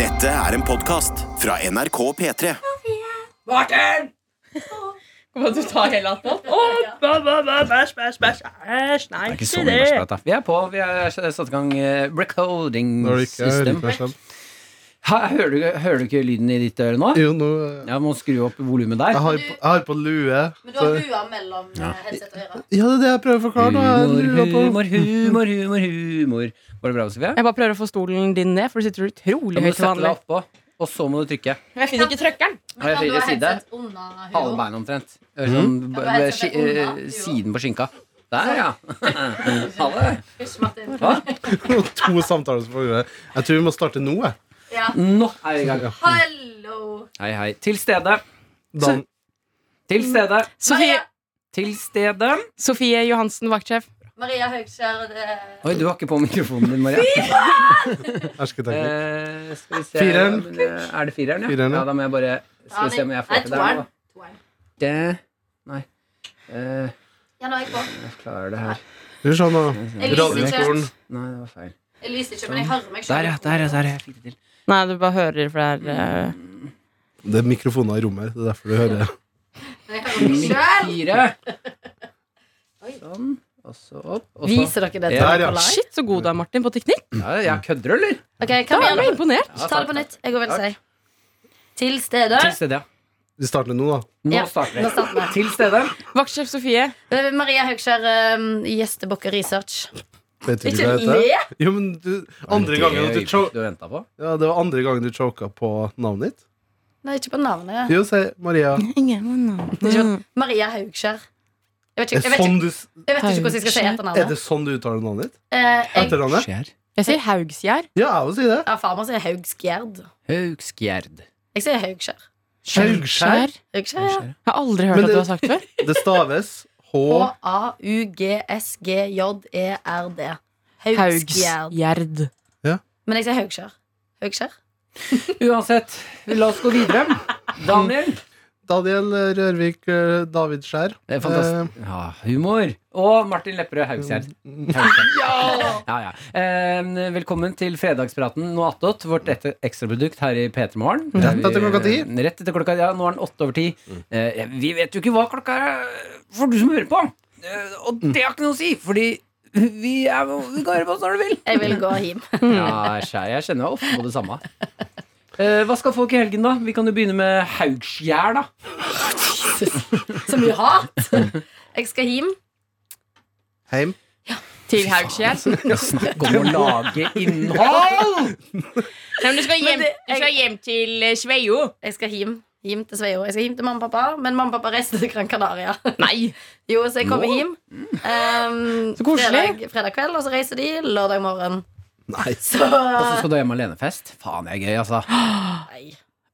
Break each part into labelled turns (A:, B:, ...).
A: Dette er en podkast fra NRK P3.
B: Martin!
C: Kommer du ta hele attpåt?
B: Bæsj, bæsj, bæsj. Æsj, nei,
D: Det er ikke så mye bæsjprat, da. Vi er på. Vi har satt i gang eh, recording
E: Når det ikke er
D: system.
E: rytmeslam.
D: Hæ, hører, du, hører du ikke lyden i ditt øre nå?
E: Jo, nå
D: Ja, må skru opp volumet der.
E: jeg har, på, jeg har på lue.
F: Men du
E: Så,
F: har lua mellom ja. headset og øret.
E: ja, det er det jeg prøver å forklare. Nå har jeg lua på.
D: Humor, humor, humor, humor. Var det bra, Sofie?
C: Jeg bare prøver å få stolen din ned, for du sitter
D: Da
C: utrolig
D: må
C: høyt til
D: du sette
C: vanlig.
D: deg oppå, og så må du trykke.
C: Jeg finner ikke trøkkeren.
F: Men
D: jeg
F: kan du ha
D: høyre side?
F: headset unna
D: Hale
F: huet?
D: beinet omtrent.
E: Mm.
D: Sånn, b-
F: Ja, bare
D: b- ski-
F: sette Sånn. deg
D: eh,
F: unna.
D: siden på skinka. Der, ja. Hale.
F: Hysj, Martin.
E: To samtaler som foregår. Jeg tror vi må starte nå. Jeg.
F: Ja.
D: Nå er vi i gang.
F: Hallo.
D: Hei, hei. Til stede.
E: Dan,
D: Til stede.
C: Sofie,
F: Maria,
D: Til stede.
C: Sofie Johansen, vaktsjef.
F: Maria Høgskjær eh,
D: Oi, du har ikke på mikrofonen din, Maria.
E: hersketeknikk.
D: Eh, skal vi se
E: Fireren.
D: Men, eh, Er det fireren, ja?
E: Fireren, ja.
D: ja? Da må jeg bare Skal
F: Ja,
D: vi se om jeg
F: nei,
D: får til det. her nå, da.
F: toeren.
D: Det Nei. Eh,
F: Ja, nå er jeg på.
D: jeg klarer det her.
E: Skal vi se nå.
F: Jeg lyser ikke.
E: Radioskolen.
D: Nei, det var feil.
F: Jeg lyser ikke, men jeg hører meg
D: Der,
F: selv.
D: ja. Der, ja. Der, ja. Jeg fikk det til.
C: Nei, du bare hører, for det er eh,
E: Det er mikrofoner i rommet her. Det er derfor du hører
F: Jeg hører
D: Mm.
F: meg selv.
D: Fire.
F: Oi.
D: Sånn. Og så opp. Og så
G: Viser dere det
D: Ja,
E: ja.
G: på live?
C: Shit, så god du er, Martin, på teknikk.
D: ja, ja, Kødder du, eller?
G: Ok,
C: Da
G: kom
C: er
G: igjen.
C: jeg imponert.
D: Ja,
G: Ta det på nytt. Jeg går vel og sier. Til stede.
D: Til stede, ja.
E: Vi starter nå, da.
D: Nå
G: Ja,
D: starter
G: Nå
D: vi.
G: starter vi.
D: Til stede.
C: Vaktsjef Sofie.
G: Eh, Maria Høgskjær, eh, gjestebukker research.
E: Vet du
F: Ikke
E: ikke hva det
F: le!
E: heter? Jo, men du, andre gangen at du cho
D: Du venta på?
E: ja, det var andre gangen du choka på navnet ditt.
G: Nei, ikke på navnet.
E: Jo, si Maria.
C: Ingen
G: Maria Haugskjær. Jeg vet
E: Er,
G: ikke, jeg vet
E: sånn
G: ikke,
E: du, s-
G: jeg vet ikke hvordan jeg skal si
E: er
G: etternavnet.
E: det sånn du uttaler navnet ditt?
G: Eh, jeg,
E: Etternavnet?
D: Skjer.
C: Jeg sier Haugsgjerd.
E: Ja, jeg vil si det.
G: ja, farmor sier Haugskjerd.
D: Haugskjerd.
G: Jeg sier Haugskjær.
E: Haugskjær.
G: Haugskjær, ja.
C: Jeg har aldri hørt
E: Men
C: at du
E: det-
C: har sagt før.
E: Det staves H...
G: E H-a-u-g-s-g-j-e-r-d. Haugskjerd.
C: Haugsgjerd.
G: Men jeg sier Haugskjær. Haugskjær?
D: Uansett, la oss gå videre. Daniel.
E: Daniel Rørvik eh, David Skjær. Eh,
D: Det er fantastisk. Ja, humor. Og Martin Lepperød Haugskjær. Ja, ja. Eh, velkommen til fredagspraten nå attåt, vårt et- ekstraprodukt her i P3 Morgen. Eh,
E: Rett etter klokka ti.
D: Rett etter klokka Ja, nå er den åtte over ti. Eh, vi vet jo ikke hva klokka er for du som hører på. Eh, og det har ikke noe å si, fordi vi, er, vi kan høre på oss når du vil.
G: Jeg vil gå hjem.
D: Ja, skjær, jeg kjenner meg ofte på det samme. Eh, hva skal folk i helgen, da? Vi kan jo begynne med Haugskjær, da.
G: Så mye hat! Jeg skal hjem.
E: Heim.
C: Til Haugsgjerd.
D: Snakk om å lage innhold!
C: Nei, men du skal
G: Men
C: hjem,
G: det-
C: du skal hjem til eh, Sveio.
G: Jeg skal hjem. Hjem til Sveio. Jeg skal hjem til mamma og pappa, men mamma og pappa reiste til Gran Canaria.
C: Nei.
G: Jo, så jeg kommer
D: Nå?
G: hjem. Um,
C: Så koselig.
G: Fredag, fredag kveld, og så reiser de lørdag morgen.
E: Nei.
G: Så
D: Og så skal du ha hjem alenefest? Faen, det er gøy, altså.
G: nei.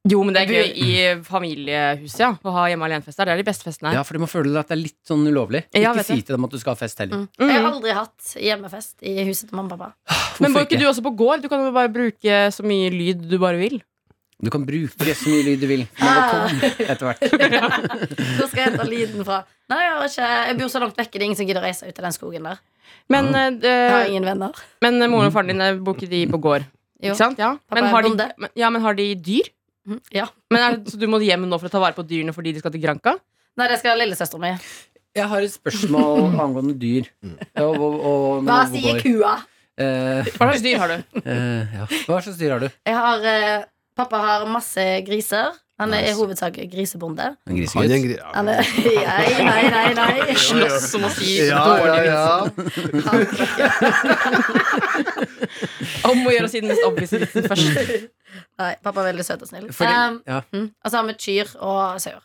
C: Jo, men det er gøy i familiehuset, ja. Å ha hjemme alene-fest der. Det er de beste festene her.
D: Ja, for du må føle at det er litt sånn ulovlig.
C: Ja,
D: ikke
C: vet
D: si
C: jeg.
D: til dem at du skal ha fest heller.
G: Mm. Jeg har aldri hatt hjemmefest i huset til mamma og pappa.
C: Men bor
D: Hvorfor
C: ikke du også på gård? Du kan jo bare bruke så mye lyd du bare vil.
D: Du kan bruke så mye lyd du vil. Man må komme etter hvert.
G: Hvor skal jeg ta lyden fra? Nei, Jeg har ikke Jeg bor så langt vekke, det er ingen som gidder å reise ut i den skogen der.
C: Men, eh,
G: Jeg har ingen venner.
C: men moren og faren din eh, bor ikke de på gård?
G: Jo.
C: Ikke sant? Ja.
G: Pappa
C: Men
G: er
C: har de,
G: bonde.
C: men, ja, men har de dyr?
G: Mhm, Ja.
C: Men er, det- så du må hjem nå for å ta vare på dyrene fordi de skal til Granca?
G: Nei, det skal lillesøsteren min.
D: Jeg har et spørsmål angående dyr. Og, og, og,
G: Hva sier kua?
D: Eh,
C: Hva slags dyr har du?
D: eh, ja. Hva slags dyr har du?
G: Jeg har, eh, pappa har masse griser. Han er i
D: Nice.
G: hovedsak grisebonde.
D: En
E: Han
D: grisegutt?
E: gjenger i- ja.
G: Han er, nei, nei, nei, nei.
C: Slåss om å si
E: Ja, ja, ja.
C: Om å gjøre å si den mest obvise vitsen først.
G: Nei, pappa er veldig søt og snill.
D: Fordi,
G: Um,
D: ja,
G: mm, og så har vi kyr og sauer.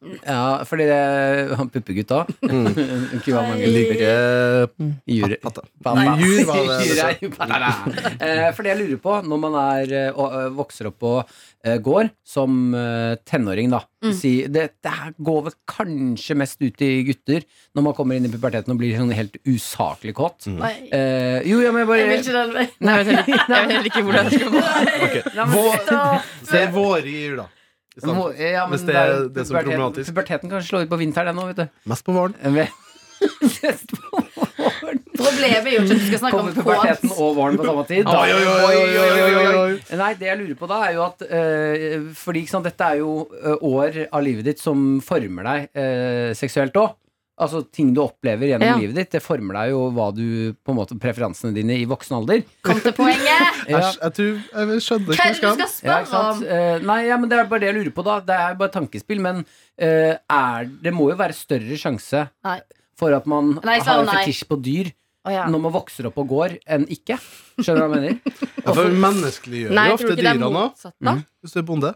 D: ja, fordi det er han puppegutt òg.
G: Hei.
D: Kua mange
E: Like eh,
D: jure.
E: Patta.
D: Pappa.
E: Jur var det.
D: Jur er jo pappa. Eh, For det jeg lurer på, når man er, eh, og, eh, vokser opp og eh, går som eh, tenåring, da
C: Mm.
D: si, det, det her går vel kanskje mest ut i gutter når man kommer inn i puberteten og blir sånn helt usaklig kåt.
E: Mm.
G: Nei,
D: Eh, jo, ja, men jeg bare
G: jeg vil ikke den veien.
C: Nei, jeg vet heller ikke, jeg vet heller ikke hvordan det skal gå.
E: Ok.
G: Så-
E: Se våre gir, da. I stedet.
D: Må- ja, men
E: Hvis det er det som er
D: puberteten-
E: problematisk.
D: Puberteten kan slå ut på vinteren, den òg, vet du.
E: Mest på våren.
D: Mest på våren.
G: Problemet er jo ikke at du skal snakke om
D: Kommer puberteten
G: kåt.
D: og våren på samme tid.
E: Oi, oi, oi, oi, oi, oi, oi, oi.
D: Nei, det jeg lurer på da er jo at eh, Fordi ikke sant, dette er jo eh, år av livet ditt som former deg eh, seksuelt òg. Altså ting du opplever gjennom
C: Ja.
D: livet ditt. Det former deg jo hva du på en måte preferansene dine i voksen alder.
G: Kom til poenget.
D: Ja.
E: Æsj, jeg tror jeg skjønner
G: Hva
E: ikke
G: er det du
E: skam.
G: skal
D: Ja,
G: spørre
D: ikke
G: om?
D: sant? Eh, nei, ja, men Det er bare det jeg lurer på. da Det er bare tankespill. Men eh, er, det må jo være større sjanse
G: Nei.
D: for at man
G: Nei, jeg
D: har
G: svarer
D: en
G: nei.
D: fetisj på dyr
G: Å ja.
D: når man vokser opp og går, enn ikke. Skjønner du hva jeg mener?
E: Ja, for menneskeliggjør
C: Nei,
E: jo
C: tror du
E: ofte
C: ikke det er
E: dyra nå,
C: motsatt, da?
E: hvis du er bonde.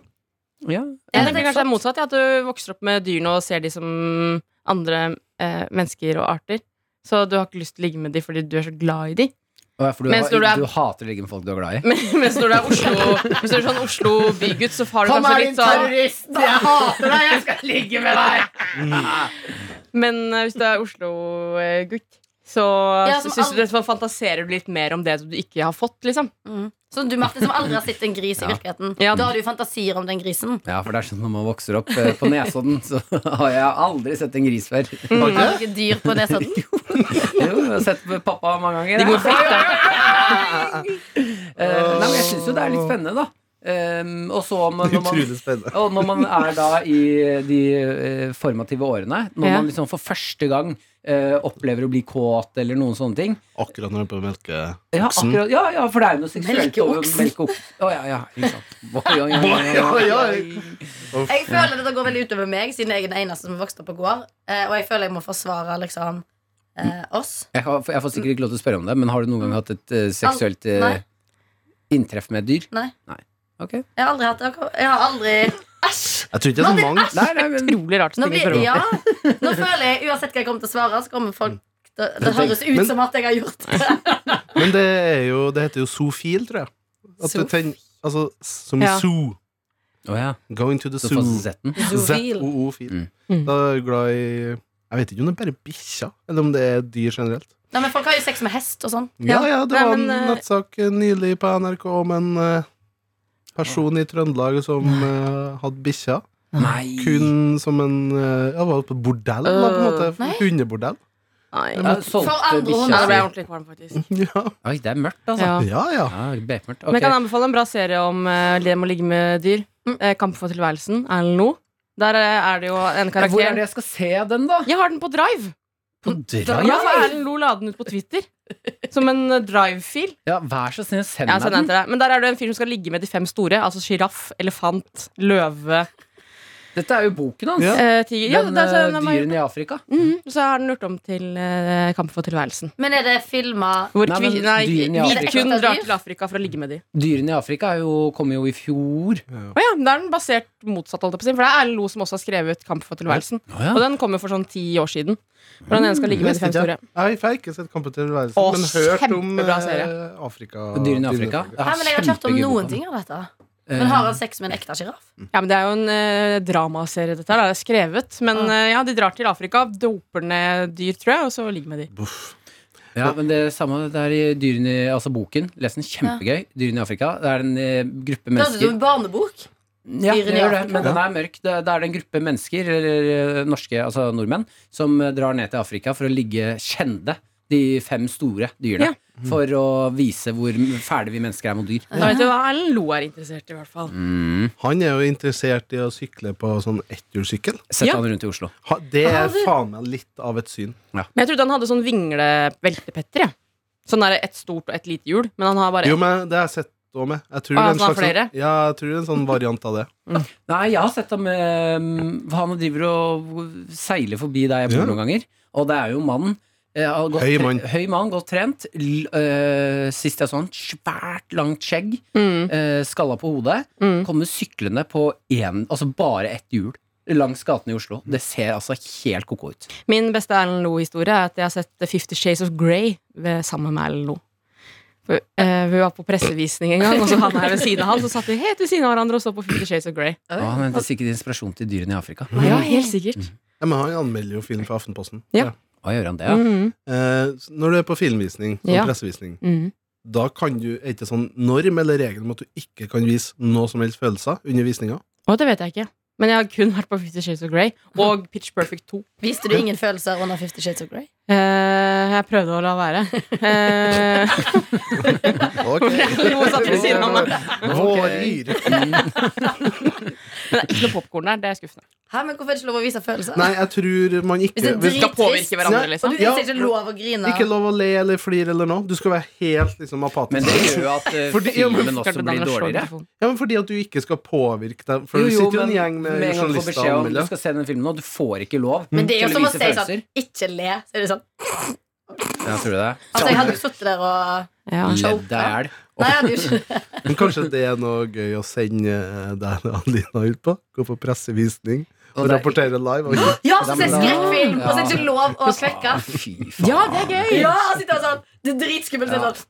D: Ja,
C: Jeg tenker kanskje det er motsatt, ja, at du vokser opp med dyrene og ser de som andre eh, mennesker og arter. Så du har ikke lyst til å ligge med de fordi du er så glad i de.
D: Å ja, for du,
C: Mens når du er-
D: du hater å ligge med folk du er glad i?
C: Men, mens når du er Oslo Hvis du er sånn Oslo bygutt, så har du kanskje litt sånn
D: terrorist! Jeg hater deg! Jeg skal ligge med deg!
C: Men eh, hvis du er Oslo-gutt, så
G: Ja, som
C: syns du det, så fantaserer du litt mer om det du ikke har fått, liksom.
G: Mm. Så du Martin, som aldri har sett en gris i
D: Ja.
G: virkeligheten,
C: Ja.
G: da har du fantasier om den grisen.
D: Ja, for det er sånn når man vokser opp eh, på Nesodden, så har jeg aldri sett en gris før. Jo,
E: Har du
G: Har du
E: ikke?
G: ikke dyr på sånn? Nesodden?
D: jeg har sett pappa mange ganger.
C: De går fritt, da.
D: Eh, nei, men jeg syns jo det er litt spennende, da. Ehm, og så om- når man
E: Utrolig spennende.
D: og når man er da i de eh, formative årene, når
C: Ja.
D: man liksom for første gang eh, opplever å bli kåt eller noen sånne ting,
E: Akkurat når du er på melke...
D: Ja,
E: Oksen.
D: akkurat, ja, ja, for det er jo noe seksuelt over
G: Melkeoksen.
D: melkeoksen. Å ja, ja, ikke sant. Oi, oi, oi, oi, oi, oi.
G: Jeg føler dette går veldig utover meg, siden jeg er den eneste som vokste opp på gård. Eh, og jeg føler jeg må forsvare liksom eh, oss.
D: Jeg, har, jeg får sikkert ikke lov til å spørre om det, men har du noen gang hatt et eh, seksuelt eh,
G: Nei.
D: inntreff med et dyr?
G: Nei.
D: Ok.
G: Jeg har aldri hatt det. Jeg har aldri Æsj!
E: Jeg tror ikke det er så mange.
D: Nei, nei, men
C: Utrolig rart.
G: Nå,
C: Stine,
G: blir,
C: for å-
G: ja. Nå føler jeg, uansett hva jeg kommer til å svare, så kommer folk Det, det
E: tenk-
G: høres ut
E: men-
G: som at jeg har gjort det.
E: Men det er jo Det heter jo zoofil, tror jeg. At du
C: Zoofil?
E: tenner Altså som i
C: Ja.
E: zoo.
D: Å ja.
E: Going to the
D: Så får
E: zoo.
D: setten.
E: Z-O-O-fil.
D: Mm.
C: Mm.
E: Da er du glad i Jeg vet ikke om det er bare bikkjer, eller om det er dyr generelt.
G: Nei, men Folk har jo sex med hest og sånn.
E: Ja, ja, det
C: Nei,
E: var
C: men,
E: en
C: eh,
E: nettsak eh, nylig på NRK om en eh, person i Trøndelag som eh, hadde bikkjer.
D: Nei.
E: Kun som en eh, Ja, var på bordell, da, på en
C: Øh,
E: måte.
G: Nei.
E: Hundebordell.
C: Nei.
D: Ja,
G: For
D: solgte
G: andre
C: Ja, da ble jeg
D: bikkja si.
C: ordentlig kvalm, faktisk.
E: Ja,
D: Oi, det er mørkt, altså.
C: Ja.
E: ja. ja.
D: Ja, bekmørkt.
C: Men jeg kan
D: Ok.
C: anbefale en bra serie om eh, det med å ligge med dyr. Eh, Kamp for tilværelsen. Erlend Loe. Der eh, er det jo en
D: Hvor er
C: karakter
D: det jeg skal se den, da?
C: Jeg har den på drive!
D: På
C: Ja, for Erlend Loe la den ut på Twitter. Som en eh, drive-fil.
D: Ja, vær så snill, send
C: Ja,
D: meg
C: sånn
D: den.
C: heter det. Men der er det en fyr som skal ligge med de fem store. Altså sjiraff, elefant, løve,
D: Dette er jo boken hans.
E: Ja.
C: eh, tiger ja,
D: Den
C: det er
D: eh,
C: sånn,
D: dyrene i Afrika.
C: Mhm, Så har den gjort om til eh, Kamp for tilværelsen.
G: Men er det filma
C: Hvor
D: Nei,
C: nei,
D: men
C: nei,
D: dyrene i
C: hvite
G: Afrika.
C: kun drar til Afrika for å ligge med de.
D: Dyrene i Afrika er jo, kom jo i fjor.
C: Å ja, Da er den basert motsatt, holdt jeg på å si. For det er Erlend Loe som også har skrevet Kamp for tilværelsen.
D: Å, ja.
C: Og den kommer for sånn ti år siden. Hvor den ene skal ligge med de fem store.
E: Jeg har ikke sett Kampen til tilværelsen,
C: Å,
E: men hørt om
C: kjempebra
E: eh,
C: serie.
E: Afrika.
D: Dyrene i Afrika.
E: Dyrene i
D: Ja,
G: Nei, men Jeg har ikke hørt om
D: kjempegøy Eh. bok,
G: noen
D: da.
G: ting av dette. Men har han sex med en ekte sjiraff?
C: Ja, men Det er jo en eh, dramaserie, dette her. da. Det er skrevet. Men
G: Ah.
C: eh, ja, de drar til Afrika, doper ned dyr, tror jeg, og så ligger med de.
D: Ja, men det samme det er i dyrene, i- altså boken. Les den kjempegøy. Dyrene i Afrika. Det er en eh, gruppe
G: Det høres ut
D: mennesker
G: som en barnebok.
D: Ja,
G: Dyrene
D: det
G: i
D: gjør det,
G: Afrika.
D: men den er mørk. Det, det er en gruppe mennesker, eller eh, norske, altså nordmenn, som eh, drar ned til Afrika for å ligge kjende de fem store dyrene.
C: Ja.
D: For å vise hvor fæle vi mennesker er mot dyr.
C: Da vet du hva Erlend Loe er interessert i, i hvert fall.
D: Mm.
E: Han er jo interessert i å sykle på sånn etthjulssykkel.
D: Sett
C: Ja.
D: han rundt i Oslo.
E: Ha- Det er faen meg litt av et syn.
C: Men jeg trodde han hadde sånn vingleveltepetter, jeg. Sånn der ett stort og ett lite hjul. Men han har bare
E: Jo, men det har jeg sett òg med. Jeg
C: Å,
E: tror det er
C: altså,
E: en slags,
C: flere?
E: sånn- ja, jeg tror det er en sånn variant av det.
D: Nei, jeg har sett ham eh, Han driver og seiler forbi der jeg bor
E: Ja.
D: noen ganger. Og det er jo mannen. eh, har gått tre-
E: Høy mann.
D: høy mann, godt trent. L eh, sist jeg så han, svært langt skjegg.
C: mm,
D: eh, skalla på hodet,
C: Mm.
D: kommer syklende på en, altså bare ett hjul langs gatene i Oslo. Det ser altså helt ko-ko ut.
C: Min beste Erlend Loe-historie er at jeg har sett Fifty Shades of Grey ved, sammen med Erlend Loe. For, eh, vi var på pressevisning en gang, og så han her ved siden av han. Så satt vi helt ved siden av hverandre og så på Fifty Shades of Grey.
D: Og han henter sikkert inspirasjon til dyrene i Afrika.
C: Ja, helt sikkert.
E: Ja, men han anmelder jo film for Aftenposten.
C: Ja.
D: Hva gjør han det, ja?
C: Mm,
E: Eh, så når du er på filmvisning, sånn
C: Ja.
E: pressevisning,
C: mm.
E: da kan du er ikke sånn norm eller regel om at du ikke kan vise noe som helst følelser under visninga.
C: Og det vet jeg ikke. Men jeg har kun vært på Fifty Shades of Grey og Pitch Perfect 2.
G: Viste du ingen følelser under Fifty Shades of Grey?
C: Eh, jeg prøvde å la være. Eh,
E: Ok.
C: Noen satt ved siden av meg.
E: Våryr.
C: Men det er ikke noe popkorn der. Det er skuffende.
G: Hæ, men Hvorfor er det ikke lov å vise følelser?
E: Nei, jeg tror man
G: Hvis det
E: ikke
G: er
C: Vi skal
G: Drittrist.
C: påvirke hverandre,
E: Nei,
G: Og
C: liksom.
G: du
E: Ja.
G: viser ikke lov å grine.
E: Ikke lov å le eller flire eller noe. Du skal være helt liksom apatisk.
D: Men det gjør jo at eh,
E: Fordi- ja, men-
D: filmen også
C: Klarte
D: blir
C: Daniel å slå
D: dårligere.
C: mikrofonen.
E: Ja, men Fordi at du ikke skal påvirke deg. For
D: Jo,
E: du
D: jo,
E: sitter jo en
D: men
E: gjeng med,
D: med en gang du får
E: journalister.
D: beskjed
E: og
D: om du
E: anmeldere.
D: skal se den filmen, og du får ikke lov
G: Men det er jo
D: til å
G: som å si
D: vise
G: sånn
D: følelser.
G: Ikke le. Så er det sånn.
D: Ja, tror du det?
G: Altså, jeg hadde jo sittet der og
C: Ja.
D: Ledd deg i hjel.
G: Nei, jeg hadde jo ikke
E: Men kanskje det er noe gøy å sende eh, deg og Adelina ut på? Gå på pressevisning og
D: Og det er-
E: rapportere live. Og
G: Ja, så se
D: Ja, men da-
G: skrekkfilm! Og så er det
D: Ja.
G: ikke lov å kvekke.
D: Ah, Fy faen.
C: Ja, det er gøy!
G: Ja, og sitte og sånn Det er dritskummelt. så er det Sånn.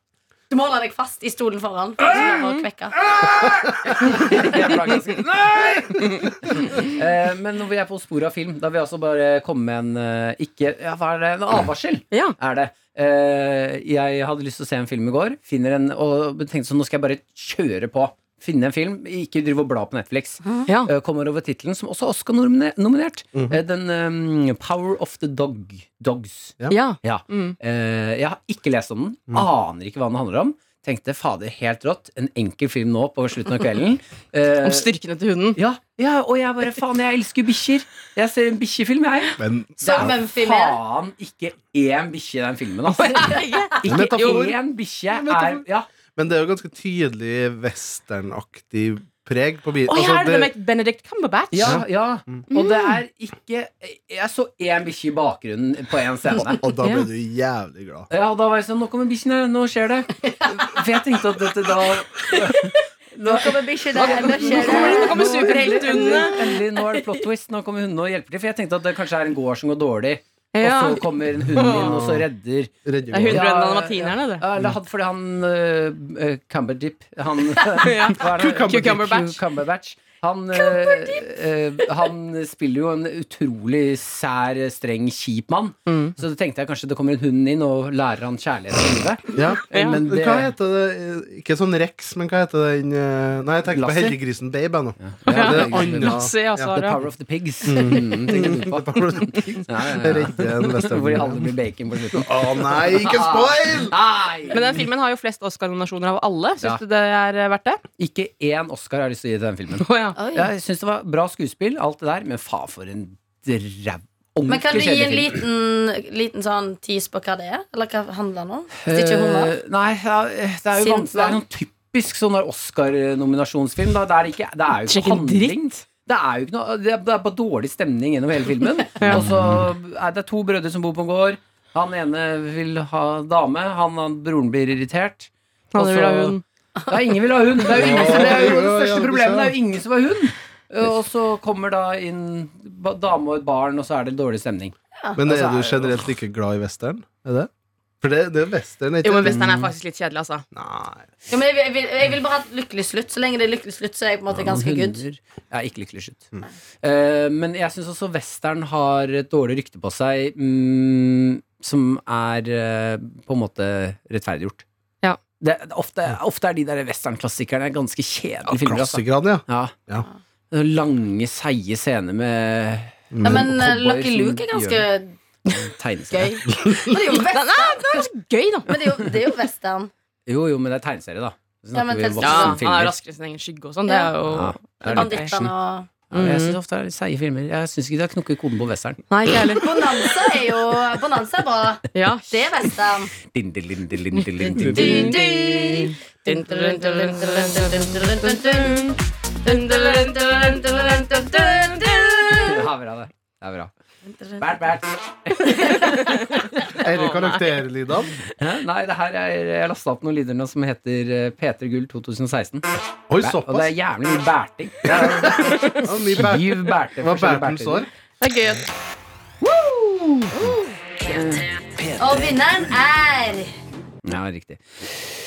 G: Du må holde deg fast i stolen foran. for det er ikke lov å kvekke.
D: Eh, Men når vi er på sporet av film, da vil jeg altså bare komme med en eh, ikke Ja, hva er det? En advarsel.
C: Ja.
D: er det. Eh, jeg hadde lyst til å se en film i går, finner en, og tenkte sånn, nå skal jeg bare kjøre på. Finne en film, ikke drive og bla på Netflix.
C: Ja.
D: Eh, kommer over tittelen, som også er Oscar-nominert. den eh, Power of the Dog. Dogs.
C: ja.
D: Ja.
C: Mm.
D: Eh, jeg har ikke lest om den. Aner ikke hva den handler om. Tenkte fader, helt rått. En enkel film nå på slutten av kvelden. Eh,
C: Om styrkene til hunden.
D: ja, ja, og jeg bare faen, jeg elsker jo bikkjer. Jeg ser en bikkjefilm, jeg.
E: Men
D: Det
G: Som
D: er
G: en film er.
D: faen ikke én bikkje i den filmen, altså. Ikke
E: Metafor.
D: én bikkje er
E: Metafor.
D: ja.
E: Men det er jo ganske tydelig westernaktig preg på altså, bilen.
C: Å, her er det med Benedict Cumberbatch!
D: Eh, altså, Ja, ja. Og det er ikke Jeg så én bikkje i bakgrunnen på én scene.
E: og da
C: Ja.
E: ble du jævlig glad.
D: Ja, og da var jeg sånn Nå kommer bikkjen her, nå skjer det. For jeg tenkte at dette da
G: Nå kommer bikkje der. Nå skjer det.
C: Nå kommer superhelthundene.
D: Endelig, endelig, nå er det plot twist. Nå kommer hundene og hjelper til. For jeg tenkte at det kanskje er en gård som går dårlig, og
C: Ja.
D: så kommer en hund inn, og så redder
C: Det er
E: Redder
C: hunden
D: Ja,
C: Brendan
D: ja.
C: Martinerne, det.
D: Ja, eller hadde, fordi han øh, øh, Cumberdip Han hva er det?
C: Cucumber Cucumber Batch.
D: Cucumber Batch. Han, øh, øh, han spiller jo en utrolig sær, streng, kjip mann.
C: Mm.
D: Så da tenkte jeg kanskje det kommer en hund inn og lærer han kjærlighet i livet.
E: ja.
C: Ja.
D: Men det,
E: Hva heter det? Ikke sånn Rex, men hva heter den eh, Nei, jeg tenker på
D: Lasser?
E: Helliggrisen Babe ennå.
D: Ja,
E: Det er
D: det er
E: andre.
C: Lasse, ja,
D: The
C: Sara.
D: Power of the Pigs. Mm, tenkte du på. Ja, ja, ja.
E: Redde en
D: Hvor de
E: westernbil.
D: alle blir bacon på slutten.
E: Å nei, ikke spoil!
D: Nei!
C: Men den filmen har jo flest Oscar-nominasjoner av alle.
D: Ja.
C: Syns du det er eh, verdt det?
D: Ikke én Oscar har jeg lyst til å gi til den filmen.
C: Å, ja.
G: Oi.
D: Jeg syns det var bra skuespill, alt det der, men faen for en dræv.
G: Men kan du
D: ordentlig
G: gi en
D: kjedelig film.
G: liten, liten sånn tease på hva det er? Eller hva handler det om? Hvis det ikke er humor?
D: Eh, Nei, ja, det er jo
G: Sint
D: vanskelig. Det er
G: mann.
D: noen typisk sånn der Oscar-nominasjonsfilm. Da. Det, er ikke, det er jo
C: Sjekk
D: ikke
C: en
D: handling. Det er jo ikke noe Det er det er bare dårlig stemning gjennom hele filmen. Og så er det to brødre som bor på en gård. Han ene vil ha dame, han, han broren blir irritert.
C: Han
D: Og så-
C: vil ha hund.
D: Ja, ingen vil ha hund. Det er jo, ingen som, det er jo det
E: Ja, ja, ja,
D: største
E: det
D: problemet.
E: sa
D: Det
E: jeg.
D: er jo ingen som har hund. Og så kommer da inn ba- dame og et barn, og så er det dårlig stemning.
E: Men
D: Altså,
E: er du
D: er-
E: generelt ikke glad i western? Er det? For det, det er western,
C: Jo,
E: ikke
C: men western er faktisk litt kjedelig, altså.
E: Nei.
G: Ja, men jeg, vil- jeg, vil, jeg vil bare ha et lykkelig slutt. Så lenge det er lykkelig slutt, så er jeg på en måte ganske good.
D: Hunder er ikke lykkelig slutt. Eh, men jeg syns også western har et dårlig rykte på seg mm, som er eh, på en måte rettferdiggjort.
C: Ja.
D: Det, det, ofte, ofte er de der westernklassikerne ganske kjedelige
E: Ja,
D: filmer. Altså.
E: klassikerne, ja.
D: Ja.
E: Ja.
D: Lange, seige scener med
G: Ja, men eh,
D: Cowboy
G: Lucky
D: som
G: Luke er ganske gøy.
D: tegneserie.
G: Men det er jo western.
C: Gøy, da.
G: Men det er jo, det er jo western.
D: Jo, jo, men det er tegneserie, da. Så
G: Ja,
D: snakker
G: men
D: vi
G: tegneserie.
C: Ja, han er
D: voksenfilmer.
C: raskere enn sin egen skygge og sånn. Det er jo
D: Ja, det er litt action.
G: Bandittene og
D: Ja, jeg syns ofte det er litt seige filmer. Jeg syns ikke de har knukket koden på western.
C: Nei, ikke jeg heller.
G: Bonanza er jo Bonanza er bra.
C: Ja.
G: Det er western.
D: Din, din, din, din, din, din, din, din.
G: Du, du. Dun, dun, dun, dun, dun, dun, dun, dun, dun, dun, dun. Dun, dun, dun, dun, dun, dun, dun, dun.
D: Ja, bra det. Det er bra. Bert, Bert.
E: Disse karakterlydene.
D: Hæ? Nei, det her er, jeg lasta opp noen lyder nå som heter eh, P3 Gull 2016.
E: Oi,
D: Og det er
E: såpass.
D: jævlig mye bærting. Det
E: Ja, mye
D: er
E: bæ-
D: Syv bærte
E: Hva
D: forskjellige
E: bærte den
D: bærter.
E: sår?
C: Det er gøy. at-
G: Og vinneren er
D: Ja, riktig.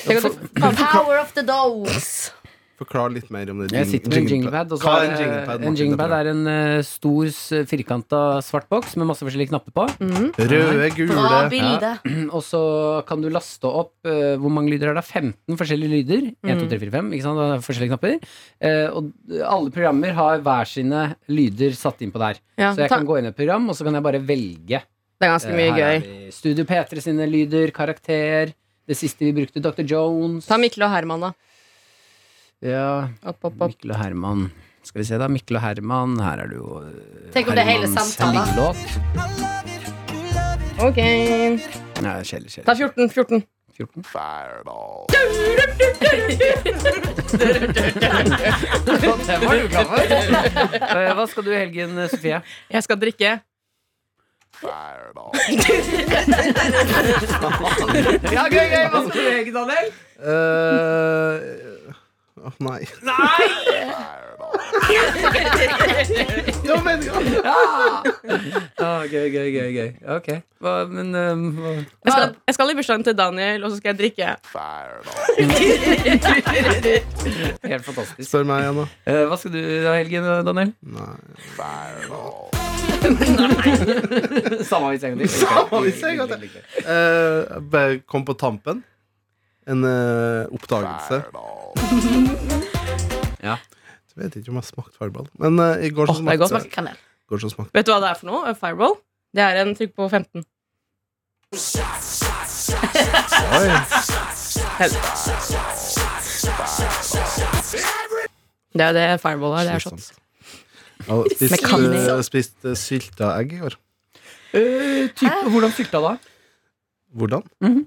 C: Tenk at du- faen,
G: Power of the Dogs.
E: Forklar litt mer om det.
D: Jeg sitter med en jinglepad. Og så er
E: Hva er en
D: det-
E: jinglepad?
D: en
E: Martin?
D: jinglepad er en eh, stor, s- firkanta svart boks med masse forskjellige knapper på.
E: Røde,
G: Bra
E: gule
G: bilde.
D: Og så kan du laste opp eh, Hvor mange lyder er det? 15 forskjellige lyder 1, 2, 3, 4, 5, ikke sant? Det er Forskjellige knapper Eh, Og alle programmer har hver sine lyder satt inn på der
C: Ja,
D: Så jeg
C: ta-
D: kan gå inn i et program Og så kan jeg bare velge eh,
C: Det er ganske mye
D: Her er
C: gøy.
D: vi. Studio P3 sine lyder, karakter. Det siste vi brukte, Dr. Jones.
C: Ta Mikkel og Herman, da.
D: Ja,
C: Opp, opp, opp.
D: Mikkel og Herman. Skal vi se, da. Mikkel og Herman. Her er det jo eh,
F: Tenk om det er hele
D: Hermans
F: samtaler.
D: hengelåt.
C: Ok.
D: Nei, kjedelig, kjedelig.
C: Ta 14. 14.
D: 14. Det var du glad for. Eh, Hva skal du i helgen, Sofie?
C: Jeg skal drikke.
D: Ja, gøy, gøy. Hva skal du i helgen, Daniel?
E: Eh, Åh, nei. Nei! jo, men
D: Ah, gøy, gøy, gøy. gøy Ok. Hva, men eh, hva-
C: Jeg skal, jeg skal i bursdagen til Daniel, og så skal jeg drikke.
D: Helt fantastisk.
E: Spør meg igjen, da.
D: Eh, Hva skal du i helgen, Daniel?
E: Nei.
D: Samme hvis jeg kan
E: Samme hvis jeg kan det. Eh, jeg bare kom på tampen. En eh, oppdagelse.
D: Ja.
E: Jeg vet ikke om jeg har smakt fireball, men eh, i går så
C: Åh, det er
E: smakte
C: godt.
E: jeg-
G: Kanel.
E: i går så smakte
C: Vet du hva det er for noe? Fireball? Det er en trykk på 15.
E: Oi.
C: Det er jo det fireball er. Det er shot.
E: Slitsomt. Jeg har spist,
C: Med kanel.
E: sånn. eh, spist eh, sylta egg i går.
D: Eh, typ, hvordan fylta da?
E: Hvordan?
C: Mhm.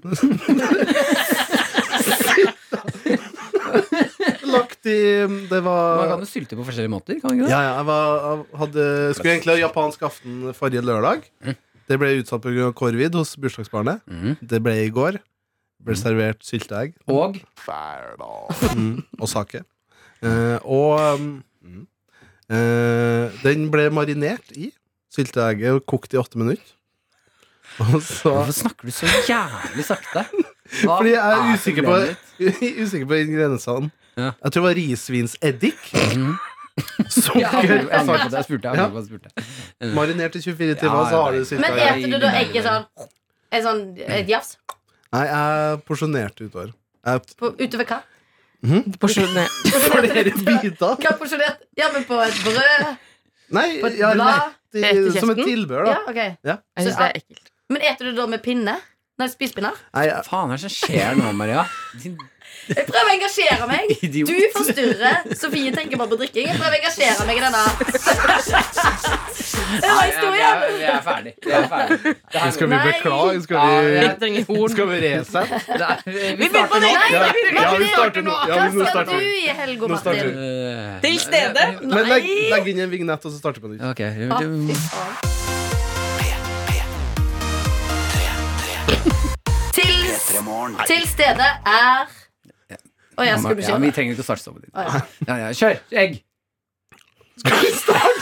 E: Lagt i mm, Det
D: Man
E: var
D: kan jo sylte på forskjellige måter. kan man ikke det?
E: Ja, ja, jeg, var, jeg hadde, skulle egentlig ha japansk aften forrige lørdag.
C: Mm.
E: Det ble utsatt pga. korvid hos bursdagsbarnet.
D: Mhm.
E: Det ble i går. Ble servert sylteegg Mm,
D: Og
E: og sake. Eh, og um, eh, den ble marinert i sylteegget og kokt i åtte minutter. Og så
D: Hvorfor snakker du så jævlig sakte? Hva
E: Fordi jeg er
D: er
E: usikker på,
D: problemet ditt?
E: usikker på ingrediensene.
D: Ja. Mhm.
E: Jeg tror det var risvinseddik.
D: Jeg angrer-
E: Sukker.
D: jeg angrer på det. Jeg spurte. Jeg, angrer på det jeg spurte.
E: Marinert i 24
D: Ja,
E: timer, og så har
D: ja.
E: du sylta
G: Men
E: egg.
G: eter du da egget sånn En sånn et jafs?
E: Nei, jeg porsjonerte utover. Jeg
G: På- Utover hva?
C: sånn. Porsjoner.
E: flere biter.
G: Hva porsjonert? Ja, men på et brød?
E: Nei,
G: På et
E: ja,
G: blad?
E: rett i,
C: Rett i
E: som et
C: kjeften?
E: tilbehør, da.
G: Ja, ok
C: Jeg syns det er ekkelt.
G: Men eter du da med pinne? Nei, spisepinner?
E: Nei, jeg,
D: Faen, hva er det som skjer nå, Maria? Din
G: Jeg prøver å engasjere meg.
D: idiot.
G: Du forstyrrer. Sofie tenker bare på drikking. Jeg prøver å engasjere meg i denne. Det var
D: Nei, vi
G: historien.
D: er, vi er ferdig. Vi er ferdig. Det her
E: skal vi
G: Nei.
E: beklage?
D: Ja,
E: Skal vi,
C: Jeg trenger horn.
E: skal vi resette?
D: det er, vi
C: begynner på
D: starter nå.
G: Nei,
E: Ja,
G: vi begynner
E: ja,
G: på
E: vi
G: det.
E: starter nå. Ja,
G: Hva
E: vi- nå
G: skal
E: starter
G: du
E: vi.
G: i helga,
E: Nå starter
G: Martin?
E: vi.
D: Eh,
C: Til stede.
E: Men legg, legg inn en vignett, og så starter vi på nytt.
D: Ok.
G: Å, fy faen. Til, til stede er Å ja, skal du
D: Ja, men
G: kjøre?
D: vi trenger ikke å starte sammen.
G: Å, ja.
D: Ja, ja, kjør! Egg!
E: Jeg trodde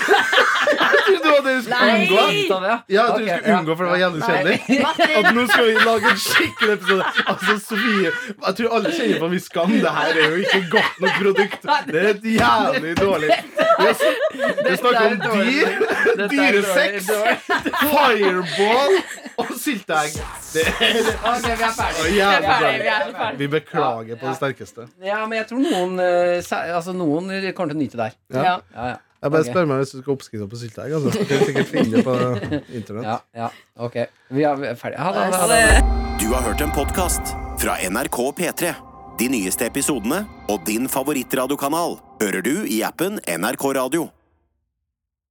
E: det var det du skulle
G: Nei.
E: unngå.
D: Ut av det,
E: Ja, jeg trodde
D: Ok,
E: du skulle unngå, for det var jævlig kjedelig.
G: Martin,
E: At nå skal vi lage en skikkelig episode. Altså, Sofie, Jeg tror alle kjenner på mye skam. Det her er jo ikke godt nok produkt. Det er et jævlig dårlig Vi har sn- Vi snakker om dyr,
D: Dette er
E: dyresex, fireball og sylteegg. Det er
D: Ok, vi er ferdige.
E: var
C: Vi er ferdig,
E: jævlig
C: vi
E: dårlig.
C: er ferdig.
E: Vi beklager på det sterkeste.
D: Ja, men jeg tror noen eh, sa- Altså, noen kommer til å nyte det her.
E: Ja.
C: Ja.
D: Ja, ja.
E: Jeg bare spør meg hvis du skal ha oppskrifta på sylteegg. Altså. Du kan sikkert finne det på internett.
D: ja, ja. Ok. Vi er vi er ferdige. Ha det. Ha det, ha det.
A: Du har hørt en podcast fra NRK P3. De nyeste episodene og din favorittradiokanal hører du i appen NRK Radio.